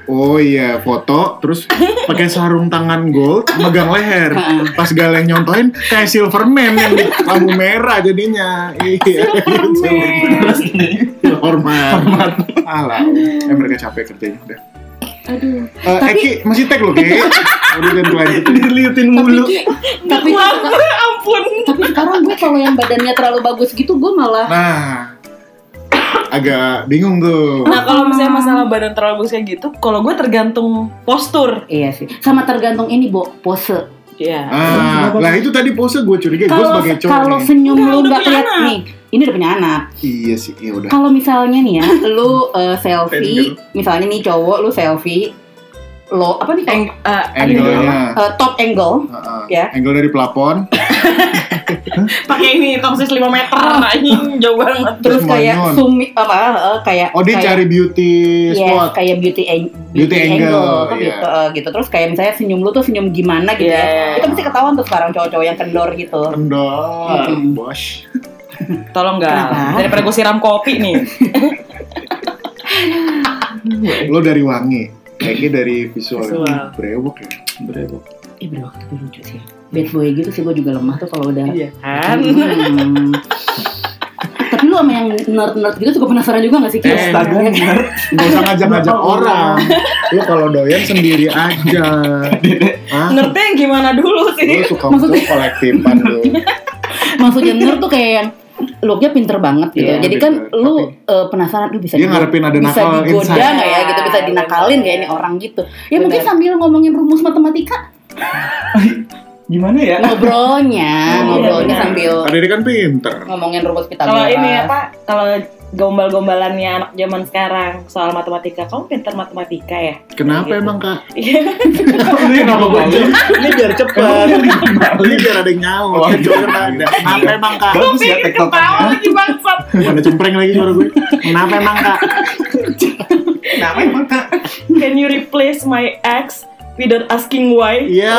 [SPEAKER 4] Oh iya, foto terus pakai sarung tangan gold megang leher. Pas galeng nyontoin kayak Silverman yang di lampu merah jadinya. Iya.
[SPEAKER 3] Superman.
[SPEAKER 4] gitu. Hormat. Hormat. Alah, eh, mereka capek kerjanya udah.
[SPEAKER 3] Aduh.
[SPEAKER 4] Eh,
[SPEAKER 3] Tapi-
[SPEAKER 4] Eki masih tag loh, Ki. Udah dan lanjut.
[SPEAKER 1] Diliutin
[SPEAKER 3] Tapi,
[SPEAKER 1] mulu.
[SPEAKER 3] Ki, tapi,
[SPEAKER 2] ampun.
[SPEAKER 3] tapi sekarang gue kalau yang badannya terlalu bagus gitu, gue malah
[SPEAKER 4] Nah, agak bingung tuh.
[SPEAKER 2] Nah kalau misalnya masalah badan terlalu bagus kayak gitu, kalau gue tergantung postur.
[SPEAKER 3] Iya sih, sama tergantung ini, Bo, pose.
[SPEAKER 2] Iya.
[SPEAKER 4] Ah, lah itu tadi pose gue curiga, gue
[SPEAKER 3] Kalau
[SPEAKER 4] sebagai cowok
[SPEAKER 3] kalau
[SPEAKER 4] nih.
[SPEAKER 3] senyum
[SPEAKER 2] Nggak,
[SPEAKER 3] lu
[SPEAKER 2] udah
[SPEAKER 3] nggak
[SPEAKER 2] punya
[SPEAKER 3] kelihatan
[SPEAKER 2] anak.
[SPEAKER 3] nih, ini udah punya anak.
[SPEAKER 4] Iya sih, iya udah.
[SPEAKER 3] Kalau misalnya nih ya, lu eh, selfie,
[SPEAKER 4] gitu.
[SPEAKER 3] misalnya nih cowok lu selfie, lo apa nih kalau-
[SPEAKER 2] Eng- eh,
[SPEAKER 4] Angle-nya.
[SPEAKER 3] eh, top angle,
[SPEAKER 4] Heeh.
[SPEAKER 3] Ya.
[SPEAKER 4] Angle dari plafon.
[SPEAKER 2] pakai ini tongsis 5 meter, anjing jauh banget.
[SPEAKER 3] terus
[SPEAKER 4] Terus
[SPEAKER 3] kayak
[SPEAKER 4] manyun.
[SPEAKER 3] zoom apa eh, kayak
[SPEAKER 4] Oh dia
[SPEAKER 3] kayak-
[SPEAKER 4] cari beauty
[SPEAKER 3] Yes,
[SPEAKER 4] spot.
[SPEAKER 3] Iya, kayak beauty, ang-
[SPEAKER 4] Beauty angle,
[SPEAKER 3] kan
[SPEAKER 4] iya.
[SPEAKER 3] gitu, eh, gitu. Terus kayak misalnya senyum lu tuh senyum gimana gitu
[SPEAKER 2] Iya.
[SPEAKER 3] ya. Itu mesti ketahuan tuh sekarang cowok-cowok yang kendor gitu.
[SPEAKER 4] Kendor,
[SPEAKER 3] Mm.
[SPEAKER 4] bos.
[SPEAKER 2] Tolong nggak
[SPEAKER 3] Kenapa?
[SPEAKER 2] daripada gue siram kopi nih.
[SPEAKER 4] Lo dari wangi. Kayaknya dari visual.
[SPEAKER 2] Visual.
[SPEAKER 4] Brewok ya. Brewok.
[SPEAKER 3] Ih, bro, tapi lucu sih. Bad boy gitu sih gue juga lemah tuh kalau udah
[SPEAKER 2] Iya kan?
[SPEAKER 3] Hmm. Tapi lu sama yang nerd-nerd gitu suka penasaran juga gak sih?
[SPEAKER 2] Eh,
[SPEAKER 3] Ki?
[SPEAKER 1] Eh,
[SPEAKER 4] Iya,
[SPEAKER 1] Astaga, bener.
[SPEAKER 4] Gak usah ngajak-ngajak
[SPEAKER 3] Bapak
[SPEAKER 4] orang. Lo kalau doyan sendiri aja. Hah?
[SPEAKER 2] Ngerti yang gimana dulu
[SPEAKER 4] Lo
[SPEAKER 2] sih?
[SPEAKER 4] suka
[SPEAKER 3] Maksudnya-
[SPEAKER 4] Maksudnya... kolektifan lo.
[SPEAKER 3] Maksudnya nerd tuh kayak yang looknya pinter banget gitu.
[SPEAKER 4] Iya,
[SPEAKER 3] Jadi kan
[SPEAKER 4] pinter.
[SPEAKER 3] lu eh, penasaran lu bisa
[SPEAKER 4] Dia
[SPEAKER 3] digo-
[SPEAKER 4] ngarepin ada
[SPEAKER 3] bisa
[SPEAKER 4] nakal
[SPEAKER 3] digoda
[SPEAKER 4] inside. Iya,
[SPEAKER 3] nggak ya gitu bisa dinakalin kayak ini orang gitu. Ya mungkin
[SPEAKER 2] Benar.
[SPEAKER 3] sambil ngomongin rumus matematika
[SPEAKER 1] Gimana ya?
[SPEAKER 3] ngobrolnya, ngobrolnya
[SPEAKER 2] benar.
[SPEAKER 3] sambil
[SPEAKER 4] Padahal dia kan pinter.
[SPEAKER 3] ngomongin rumus
[SPEAKER 2] Kalau
[SPEAKER 3] Pythagoras.
[SPEAKER 2] ini apa? Kalau gombal-gombalannya anak zaman sekarang soal matematika, kamu pintar matematika ya?
[SPEAKER 3] Iya.
[SPEAKER 4] Kenapa
[SPEAKER 2] Gitu.
[SPEAKER 4] emang kak?
[SPEAKER 1] Ini kenapa gue jawab?
[SPEAKER 4] Ini biar cepat. Ini biar ada yang nyawa.
[SPEAKER 1] Oh,
[SPEAKER 4] Gitu kan ada. Kenapa emang kak?
[SPEAKER 1] Bagus ya
[SPEAKER 2] Pikir ketawa
[SPEAKER 1] tektokannya.
[SPEAKER 2] lagi bangsat.
[SPEAKER 4] Ada cempreng lagi suara gue. Kenapa emang kak?
[SPEAKER 1] Kenapa emang kak?
[SPEAKER 2] Can you replace my ex without asking why?
[SPEAKER 4] Iya.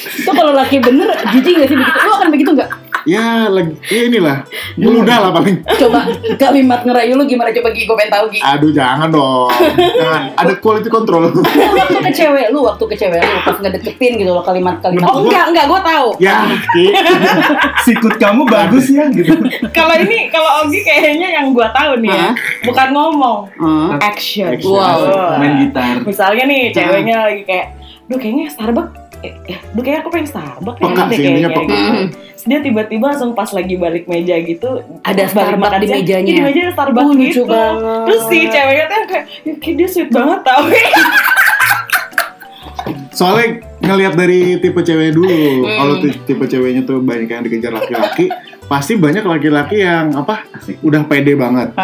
[SPEAKER 3] Itu kalau laki bener jijik gak sih begitu? Lu akan begitu gak?
[SPEAKER 4] Ya, lagi, ya inilah. Mudah lah paling.
[SPEAKER 3] Coba kalimat ngerayu lu gimana coba Gi, gue pengen tau Gi
[SPEAKER 4] Aduh, jangan dong. Jangan. Ada quality control.
[SPEAKER 3] Lu waktu ke cewek lu, waktu ke cewek lu pas ngedeketin gitu loh kalimat-kalimat
[SPEAKER 2] Oh enggak, enggak, gue tahu.
[SPEAKER 4] ya, Ki.
[SPEAKER 1] Sikut kamu bagus ya gitu.
[SPEAKER 2] Kalau ini, kalau Ogi kayaknya yang gue tahu nih ya,
[SPEAKER 3] Hah?
[SPEAKER 2] bukan ngomong,
[SPEAKER 3] Hah?
[SPEAKER 2] action.
[SPEAKER 4] Action. gitu.
[SPEAKER 2] Wow.
[SPEAKER 1] Main gitar.
[SPEAKER 2] Misalnya nih, ceweknya lagi kayak, duh kayaknya Starbucks, eh, ya, duh kayaknya aku pengen Starbucks
[SPEAKER 4] Peka
[SPEAKER 2] enak deh
[SPEAKER 4] sih,
[SPEAKER 2] kayaknya.
[SPEAKER 4] intinya peka.
[SPEAKER 3] Mm-hmm.
[SPEAKER 2] gitu. Terus dia tiba-tiba langsung pas lagi balik meja gitu,
[SPEAKER 3] Ada
[SPEAKER 2] pas balik
[SPEAKER 3] Starbucks
[SPEAKER 2] makan
[SPEAKER 3] di
[SPEAKER 2] siang,
[SPEAKER 3] mejanya.
[SPEAKER 2] iya, Di meja ada Starbucks
[SPEAKER 3] Oh, lucu
[SPEAKER 2] gitu.
[SPEAKER 3] banget.
[SPEAKER 2] Terus si ceweknya tuh yang kayak, "Ya, kayak dia sweet banget tau.
[SPEAKER 4] Soalnya ngelihat dari tipe cewek dulu. Kalau
[SPEAKER 1] Hmm.
[SPEAKER 4] ti- tipe ceweknya tuh banyak yang dikejar laki-laki, pasti banyak laki-laki yang apa? Udah pede banget.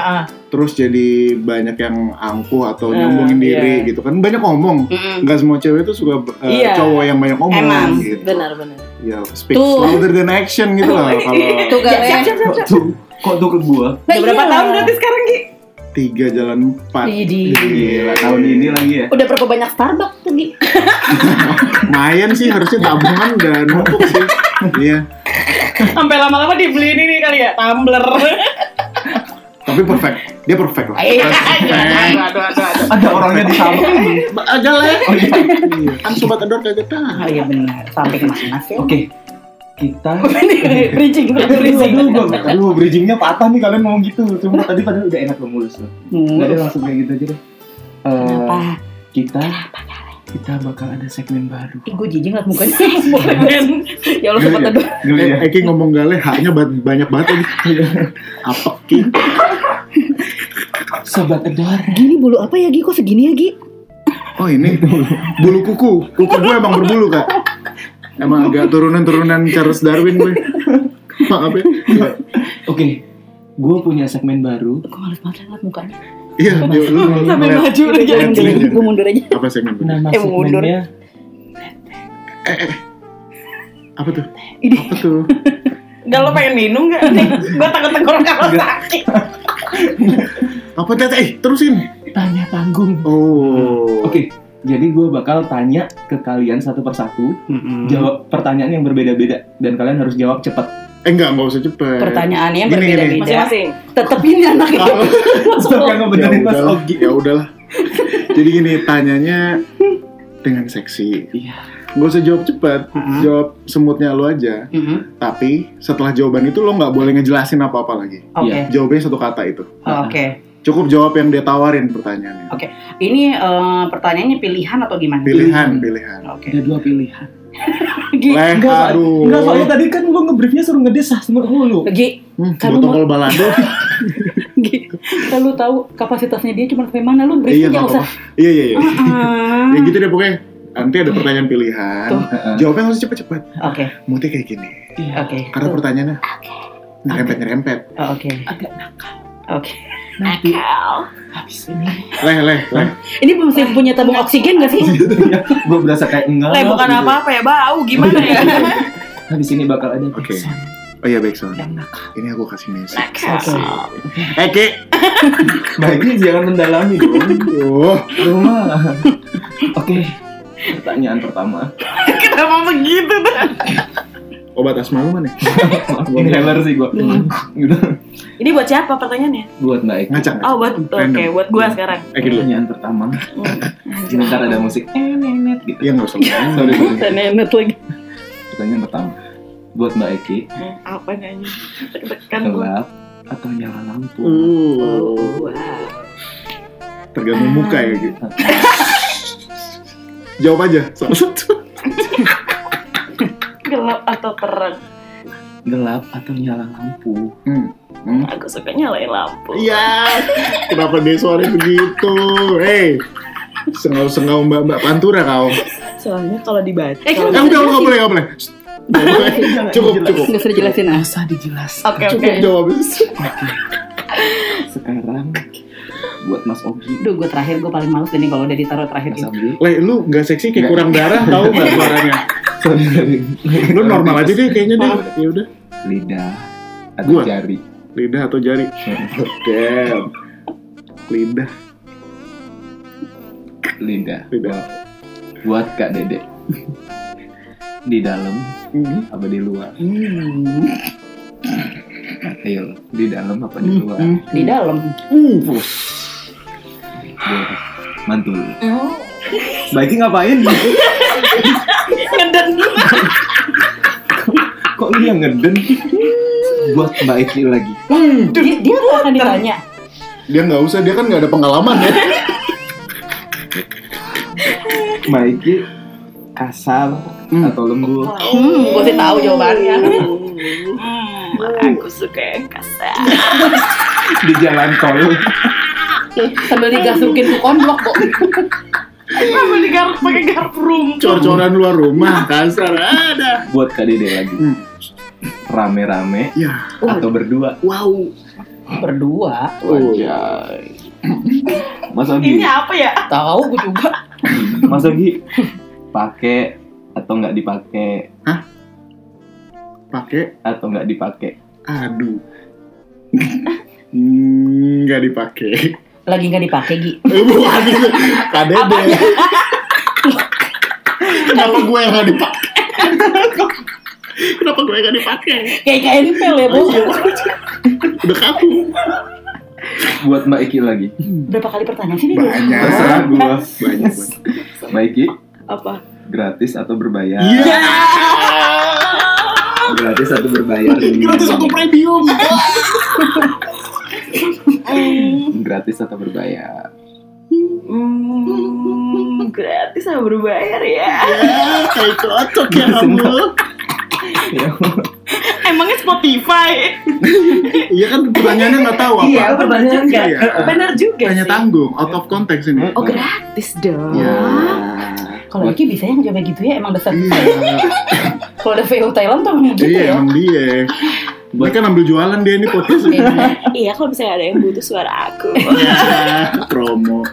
[SPEAKER 4] Terus jadi banyak yang angkuh atau
[SPEAKER 1] Hmm,
[SPEAKER 2] Eh,
[SPEAKER 4] nyombongin diri
[SPEAKER 2] iya.
[SPEAKER 4] gitu kan. Banyak ngomong.
[SPEAKER 3] Mm-mm.
[SPEAKER 4] Nggak semua cewek tuh suka eh,
[SPEAKER 2] Iya.
[SPEAKER 4] cowok yang banyak ngomong
[SPEAKER 3] Hmm. Emang,
[SPEAKER 4] gitu.
[SPEAKER 3] benar-benar
[SPEAKER 4] Ya, speak
[SPEAKER 3] Tuh.
[SPEAKER 4] louder than action gitu lah
[SPEAKER 3] Tuh
[SPEAKER 4] kalau
[SPEAKER 2] Ya, siap,
[SPEAKER 3] galak
[SPEAKER 2] siap, siap,
[SPEAKER 1] Kok
[SPEAKER 2] siap.
[SPEAKER 1] tuh? Kok tuh ke gua?
[SPEAKER 3] Nah,
[SPEAKER 2] Udah berapa
[SPEAKER 3] iya.
[SPEAKER 2] tahun berarti sekarang, Ki?
[SPEAKER 4] tiga jalan empat
[SPEAKER 3] Idi.
[SPEAKER 1] Gila, tahun ini lagi ya.
[SPEAKER 3] Udah berapa banyak Starbucks tuh Gi?
[SPEAKER 4] lumayan sih harusnya tabungan dan numpuk sih iya
[SPEAKER 2] Sampai lama-lama dibeliin ini kali ya, tumbler.
[SPEAKER 4] tapi perfect dia perfect lah
[SPEAKER 3] Iya,
[SPEAKER 4] perfect
[SPEAKER 2] aduh, aduh, aduh.
[SPEAKER 1] Ada orangnya di sana.
[SPEAKER 4] aja lah ya. Iya, kan sobat endor kagak tahu
[SPEAKER 3] Oh iya benar, sampai kemana sih?
[SPEAKER 1] Oke. Kita
[SPEAKER 3] Bridging,
[SPEAKER 1] Aduh,
[SPEAKER 3] bridging.
[SPEAKER 1] aduh, gua- aduh, bridgingnya patah nih kalian ngomong gitu. Cuma tadi padahal udah enak lo mulus lo. Nggak ada langsung kayak gitu aja deh. Eh,
[SPEAKER 3] Kenapa?
[SPEAKER 1] kita kita bakal ada segmen baru.
[SPEAKER 3] Ih, gue jijik ngeliat mukanya. Boleh, Ben. Ya Allah, sempat
[SPEAKER 4] Geli ya?
[SPEAKER 3] teduh.
[SPEAKER 4] Geli ya?
[SPEAKER 1] Iya.
[SPEAKER 4] Eki ngomong gale, haknya ba- banyak banget lagi.
[SPEAKER 3] Iya.
[SPEAKER 4] Apa Ki?
[SPEAKER 1] Sobat Edor.
[SPEAKER 3] Gini bulu apa ya, Gi? Kok segini ya, Gi?
[SPEAKER 4] Oh ini bulu kuku, kuku gue emang berbulu kak. Emang agak turunan-turunan Charles Darwin gue. Maaf ya.
[SPEAKER 1] Oke. Gue punya segmen baru.
[SPEAKER 3] Gue males banget liat mukanya.
[SPEAKER 4] Iya, dia lu
[SPEAKER 2] Sampai
[SPEAKER 4] ngeliat.
[SPEAKER 2] maju lagi.
[SPEAKER 3] Gue mundur aja.
[SPEAKER 4] Lihat.
[SPEAKER 3] Gue mundur aja.
[SPEAKER 4] apa sih yang
[SPEAKER 1] Nama
[SPEAKER 3] Eh, mundur.
[SPEAKER 1] segmennya
[SPEAKER 4] apa tuh?
[SPEAKER 3] Ini.
[SPEAKER 4] Apa tuh?
[SPEAKER 2] Gak lo pengen minum gak? Nih, gue takut tenggorokan lo sakit.
[SPEAKER 4] Apa tete? Eh, terusin.
[SPEAKER 1] tanya panggung.
[SPEAKER 4] Oh.
[SPEAKER 1] Oke. Jadi gue bakal tanya ke kalian satu persatu,
[SPEAKER 4] Mm-mm.
[SPEAKER 1] Hmm. jawab pertanyaan yang berbeda-beda dan kalian harus jawab cepat.
[SPEAKER 4] Eh enggak, enggak usah cepet.
[SPEAKER 3] Pertanyaannya
[SPEAKER 4] Gini, gini.
[SPEAKER 3] berbeda-beda.
[SPEAKER 2] Masing-masing.
[SPEAKER 3] Tetep ini anaknya.
[SPEAKER 4] Kalau-
[SPEAKER 1] Stop yang ngebenerin
[SPEAKER 4] ya
[SPEAKER 1] Mas
[SPEAKER 4] udahlah,
[SPEAKER 1] Ogi.
[SPEAKER 4] ya udahlah. Jadi gini, tanyanya dengan seksi.
[SPEAKER 1] Iya.
[SPEAKER 4] Gak usah jawab cepet,
[SPEAKER 3] Heeh.
[SPEAKER 4] jawab semutnya lu aja.
[SPEAKER 3] Mhm.
[SPEAKER 4] Tapi setelah jawaban itu lo nggak boleh ngejelasin apa-apa lagi.
[SPEAKER 3] Oke.
[SPEAKER 4] Jawabnya satu kata itu.
[SPEAKER 3] Oke.
[SPEAKER 4] Cukup jawab yang dia tawarin pertanyaannya.
[SPEAKER 3] Oke. Ini eh, pertanyaannya pilihan atau gimana?
[SPEAKER 4] Pilihan, pilihan.
[SPEAKER 3] Oke.
[SPEAKER 1] Ada dua pilihan.
[SPEAKER 3] Gi,
[SPEAKER 4] Leh,
[SPEAKER 1] Enggak,
[SPEAKER 4] aduh.
[SPEAKER 1] enggak soalnya tadi kan gua ngebriefnya suruh ngedesah sama hulu.
[SPEAKER 3] Gi,
[SPEAKER 4] Hmm,
[SPEAKER 3] Kamu
[SPEAKER 4] botol balado.
[SPEAKER 3] Gi, kalau lu tahu kapasitasnya dia cuma sampai mana lu briefnya
[SPEAKER 4] iya, nggak
[SPEAKER 3] nggak
[SPEAKER 4] apa-apa.
[SPEAKER 3] usah.
[SPEAKER 4] Iya, iya, iya.
[SPEAKER 3] Ah.
[SPEAKER 4] Ya gitu deh pokoknya. Nanti ada pertanyaan pilihan.
[SPEAKER 3] Tuh.
[SPEAKER 4] Jawabnya harus cepet-cepet.
[SPEAKER 3] Oke,
[SPEAKER 4] Muti kayak gini.
[SPEAKER 3] oke.
[SPEAKER 4] Karena pertanyaannya nyerempet-nyerempet.
[SPEAKER 3] Oh, Oke.
[SPEAKER 1] Agak nakal.
[SPEAKER 3] Oke.
[SPEAKER 1] Nanti habis ini.
[SPEAKER 4] Leh, leh, leh.
[SPEAKER 3] Ini masih punya tabung oksigen nggak sih?
[SPEAKER 1] Iya, gua berasa kayak
[SPEAKER 3] eh,
[SPEAKER 1] enggak.
[SPEAKER 2] Leh bukan
[SPEAKER 1] gitu.
[SPEAKER 2] apa-apa ya, bau gimana ya?
[SPEAKER 1] Habis ini bakal ada
[SPEAKER 4] Oke.
[SPEAKER 1] pesan
[SPEAKER 4] Oh iya, baik sound.
[SPEAKER 1] yang nakal.
[SPEAKER 4] Ini aku kasih misi.
[SPEAKER 3] Oke.
[SPEAKER 4] Eh, Ki.
[SPEAKER 1] Baiknya jangan mendalami dong.
[SPEAKER 4] Aduh.
[SPEAKER 1] Rumah. Oke. Pertanyaan pertama.
[SPEAKER 2] Kenapa begitu tuh?
[SPEAKER 4] Obat asma lu mana?
[SPEAKER 1] Inhaler sih gua. Gitu.
[SPEAKER 2] Ini buat siapa pertanyaannya?
[SPEAKER 1] Buat Mbak Eka.
[SPEAKER 4] Ngacak.
[SPEAKER 2] Oh buat oke
[SPEAKER 4] Random.
[SPEAKER 2] buat gua sekarang.
[SPEAKER 4] Eh, Ki dulu. Oh,
[SPEAKER 1] Pertanyaan pertama. Sebentar ada musik. Nenet gitu.
[SPEAKER 4] Iya, nggak usah.
[SPEAKER 1] Sorry, sorry.
[SPEAKER 3] Dan nenet lagi.
[SPEAKER 1] Pertanyaan pertama. Buat Mbak Eki,
[SPEAKER 2] Hmm, Apa nyanyi? Tekan Kan gua.
[SPEAKER 1] gelap atau nyala lampu?
[SPEAKER 4] Uh,
[SPEAKER 2] Wow.
[SPEAKER 4] tergantung muka ya, Ki. Jawab aja. Salah satu.
[SPEAKER 2] Gelap atau terang?
[SPEAKER 1] Gelap atau nyala lampu?
[SPEAKER 4] Hmm.
[SPEAKER 2] Aku suka nyalain lampu.
[SPEAKER 4] Iya, kenapa dia suaranya begitu? Hei, sengau-sengau mbak-mbak pantura kau.
[SPEAKER 2] Soalnya kalau dibaca.
[SPEAKER 3] Eh, kan-
[SPEAKER 4] Eh udah, nggak boleh, nggak boleh. Shh, nggak boleh. Cukup, cukup.
[SPEAKER 3] Nggak usah dijelasin ah.
[SPEAKER 1] Usah dijelas.
[SPEAKER 2] Oke oke.
[SPEAKER 4] Cukup jawab.
[SPEAKER 1] Sekarang buat Mas Ogi.
[SPEAKER 3] Duh, gue terakhir gue paling males ini kalau udah ditaruh terakhir.
[SPEAKER 1] Mas Ogi.
[SPEAKER 4] Leh, lu nggak seksi kayak kurang darah tau nggak suaranya? Lu normal aja deh kayaknya deh. Ya udah,
[SPEAKER 1] Lidah atau
[SPEAKER 4] Gua.
[SPEAKER 1] jari?
[SPEAKER 4] lidah atau jari? Damn. Lidah,
[SPEAKER 1] Lidah.
[SPEAKER 4] Lidah.
[SPEAKER 1] Buat Kak Dede. Di dalam
[SPEAKER 4] Hmm,
[SPEAKER 1] apa di luar?
[SPEAKER 3] Hmm.
[SPEAKER 1] Ayo, di dalam apa di luar?
[SPEAKER 4] hmm.
[SPEAKER 3] Di dalam.
[SPEAKER 4] Uh,
[SPEAKER 1] Buat mantul. Baiki ngapain?
[SPEAKER 2] Ngeden dulu.
[SPEAKER 1] Kok dia ngeden? Buat Mbak Eki lagi.
[SPEAKER 3] Dia, dia nggak akan ditanya.
[SPEAKER 4] dia nggak usah, dia kan nggak ada pengalaman ya.
[SPEAKER 1] Mbak Eki kasar
[SPEAKER 4] Hmm.
[SPEAKER 1] atau lembut?
[SPEAKER 3] Hmm, gue sih tahu jawabannya.
[SPEAKER 2] Hmm, aku suka yang kasar.
[SPEAKER 1] Di jalan tol.
[SPEAKER 3] Sambil digasukin ke konblok kok.
[SPEAKER 2] Kenapa digaruk pakai garpu rumput?
[SPEAKER 4] Cor-coran luar rumah, kasar ada.
[SPEAKER 1] Buat Kak Dede lagi.
[SPEAKER 4] Hmm.
[SPEAKER 1] Rame-rame
[SPEAKER 4] Ya,
[SPEAKER 1] atau berdua?
[SPEAKER 4] wow.
[SPEAKER 3] Berdua.
[SPEAKER 1] Wajay. Mas Ogi,
[SPEAKER 2] Ini apa ya?
[SPEAKER 3] Tahu gue juga.
[SPEAKER 1] Mas Ogi, pakai atau nggak dipakai
[SPEAKER 4] Pakai,
[SPEAKER 1] atau nggak dipakai?
[SPEAKER 4] aduh. Hmm, Nggak dipakai.
[SPEAKER 3] Lagi nggak dipakai Gi.
[SPEAKER 4] Eh, bukan itu. KDD. Kenapa gue yang gak dipakai? Kenapa gue yang gak dipakai?
[SPEAKER 3] Kayak kayak NPL ya bu.
[SPEAKER 4] Udah kaku.
[SPEAKER 1] Buat Mbak Eki lagi.
[SPEAKER 3] Berapa kali pertanyaan sih dia?
[SPEAKER 4] Banyak.
[SPEAKER 1] Terserah gua.
[SPEAKER 4] Banyak.
[SPEAKER 1] Mbak Eki,
[SPEAKER 2] Apa?
[SPEAKER 1] gratis atau berbayar?
[SPEAKER 4] Iya.
[SPEAKER 1] Gratis atau berbayar?
[SPEAKER 4] Gratis satu premium.
[SPEAKER 1] Gratis atau berbayar?
[SPEAKER 2] Hmm, gratis sama berbayar ya.
[SPEAKER 4] Ya, kayak cocok ya kamu.
[SPEAKER 1] Ya,
[SPEAKER 2] Emangnya Spotify?
[SPEAKER 4] Iya kan pertanyaannya nggak tahu apa.
[SPEAKER 2] Iya, bener juga. ya?
[SPEAKER 4] Iya.
[SPEAKER 2] Bener juga
[SPEAKER 4] Tanya
[SPEAKER 2] sih.
[SPEAKER 4] tanggung, out of context ini.
[SPEAKER 2] Oh gratis dong.
[SPEAKER 4] Iya.
[SPEAKER 1] Ya.
[SPEAKER 3] Kalau Iki bisa yang jawab gitu ya emang dasar.
[SPEAKER 4] Iya.
[SPEAKER 3] Kalau ada VO Thailand tuh emang gitu
[SPEAKER 4] Iya,
[SPEAKER 3] ya.
[SPEAKER 4] emang dia. Dia kan ambil jualan dia ini podcast.
[SPEAKER 2] Iya kalau misalnya ada yang butuh suara aku.
[SPEAKER 4] Ya, promo.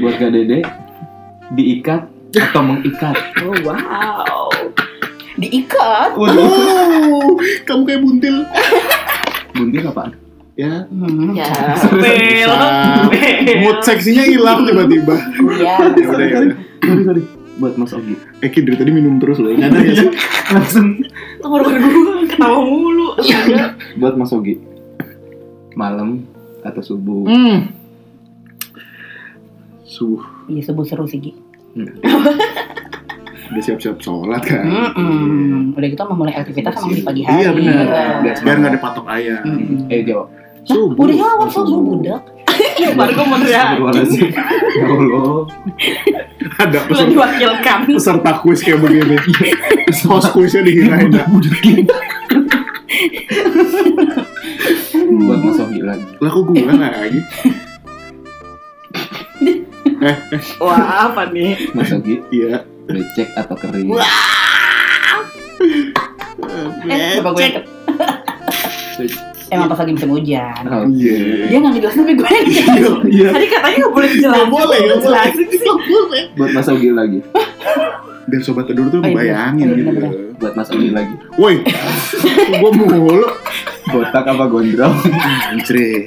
[SPEAKER 1] Buat Kak Dede, diikat atau mengikat?
[SPEAKER 2] Oh, wow.
[SPEAKER 3] Diikat.
[SPEAKER 1] Waduh,
[SPEAKER 4] Wow, kamu kayak buntil.
[SPEAKER 1] buntil apaan?
[SPEAKER 4] Ya,
[SPEAKER 3] Hmm.
[SPEAKER 2] Ya.
[SPEAKER 1] Bel.
[SPEAKER 4] mood seksinya hilang tiba-tiba.
[SPEAKER 3] Iya.
[SPEAKER 4] Ya udah, ya udah.
[SPEAKER 1] Sorry, sorry. Buat Mas Ogi.
[SPEAKER 4] Eh, Ki, dari tadi minum terus loh. Nggak ada ya sih?
[SPEAKER 1] Langsung
[SPEAKER 2] Tunggu gue. ketawa mulu. Astaga.
[SPEAKER 1] buat Mas Ogi malam atau subuh
[SPEAKER 4] Hmm. Suh,
[SPEAKER 3] Iya sebut seru sih Gi.
[SPEAKER 4] udah siap-siap sholat kan.
[SPEAKER 3] Mm-mm. Udah gitu memulai aktivitas emang di pagi Hmm, hari.
[SPEAKER 4] Iya benar.
[SPEAKER 1] Iya.
[SPEAKER 4] Biar nggak ada patok ayam.
[SPEAKER 3] Mm-mm.
[SPEAKER 1] eh jawab
[SPEAKER 3] Nah,
[SPEAKER 4] Subuh.
[SPEAKER 3] udah jawab subuh budak.
[SPEAKER 2] Baru gue meneriak.
[SPEAKER 1] Astagfirullahaladzim. ya Allah
[SPEAKER 4] Ada
[SPEAKER 2] Lo
[SPEAKER 4] peserta,
[SPEAKER 2] diwakilkan.
[SPEAKER 4] peserta kuis kayak begini. Host kuisnya dihinain. dah.
[SPEAKER 1] buat Mas Ogi lagi
[SPEAKER 4] Lah kok gue lagi?
[SPEAKER 2] Wah apa nih?
[SPEAKER 1] Mas Ogi
[SPEAKER 4] Iya.
[SPEAKER 1] becek atau kering
[SPEAKER 3] Eh, coba gue lihat. Emang pas lagi musim hujan.
[SPEAKER 1] Oh,
[SPEAKER 4] Iya.
[SPEAKER 3] Dia nggak ngejelasin tapi gue yang
[SPEAKER 4] Iya.
[SPEAKER 3] ngejelasin.
[SPEAKER 4] Iya.
[SPEAKER 2] Tadi katanya nggak boleh jelasin.
[SPEAKER 4] Nggak boleh, nggak boleh.
[SPEAKER 2] Jelasin sih.
[SPEAKER 1] buat Mas Ogi lagi
[SPEAKER 4] Dan sobat tedur tuh
[SPEAKER 3] Oh, iya.
[SPEAKER 4] bayangin
[SPEAKER 3] Iya,
[SPEAKER 4] gitu.
[SPEAKER 3] benar-benar.
[SPEAKER 1] buat Mas Ogi lagi
[SPEAKER 4] Woi, gue mulu.
[SPEAKER 1] botak apa gondrong
[SPEAKER 4] Anjir.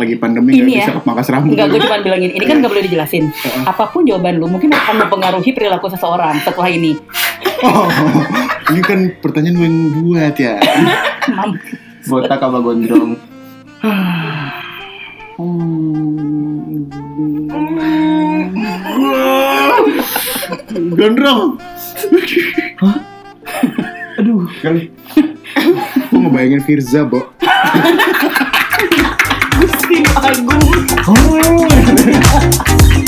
[SPEAKER 4] Lagi pandemi
[SPEAKER 3] Ini
[SPEAKER 4] nggak
[SPEAKER 3] ya.
[SPEAKER 4] bisa pangkas rambut.
[SPEAKER 3] Enggak, gue cuma bilangin, ini kan gak boleh dijelasin. Apapun jawaban lu, mungkin akan mempengaruhi perilaku seseorang setelah ini.
[SPEAKER 4] Oh, ini kan pertanyaan gue yang buat ya.
[SPEAKER 1] botak apa gondrong
[SPEAKER 3] Hmm.
[SPEAKER 4] Gondrong.
[SPEAKER 5] Aduh.
[SPEAKER 1] Kan
[SPEAKER 4] Gue ngebayangin Firza, Bo.
[SPEAKER 2] Gusti Agung.
[SPEAKER 4] Oh.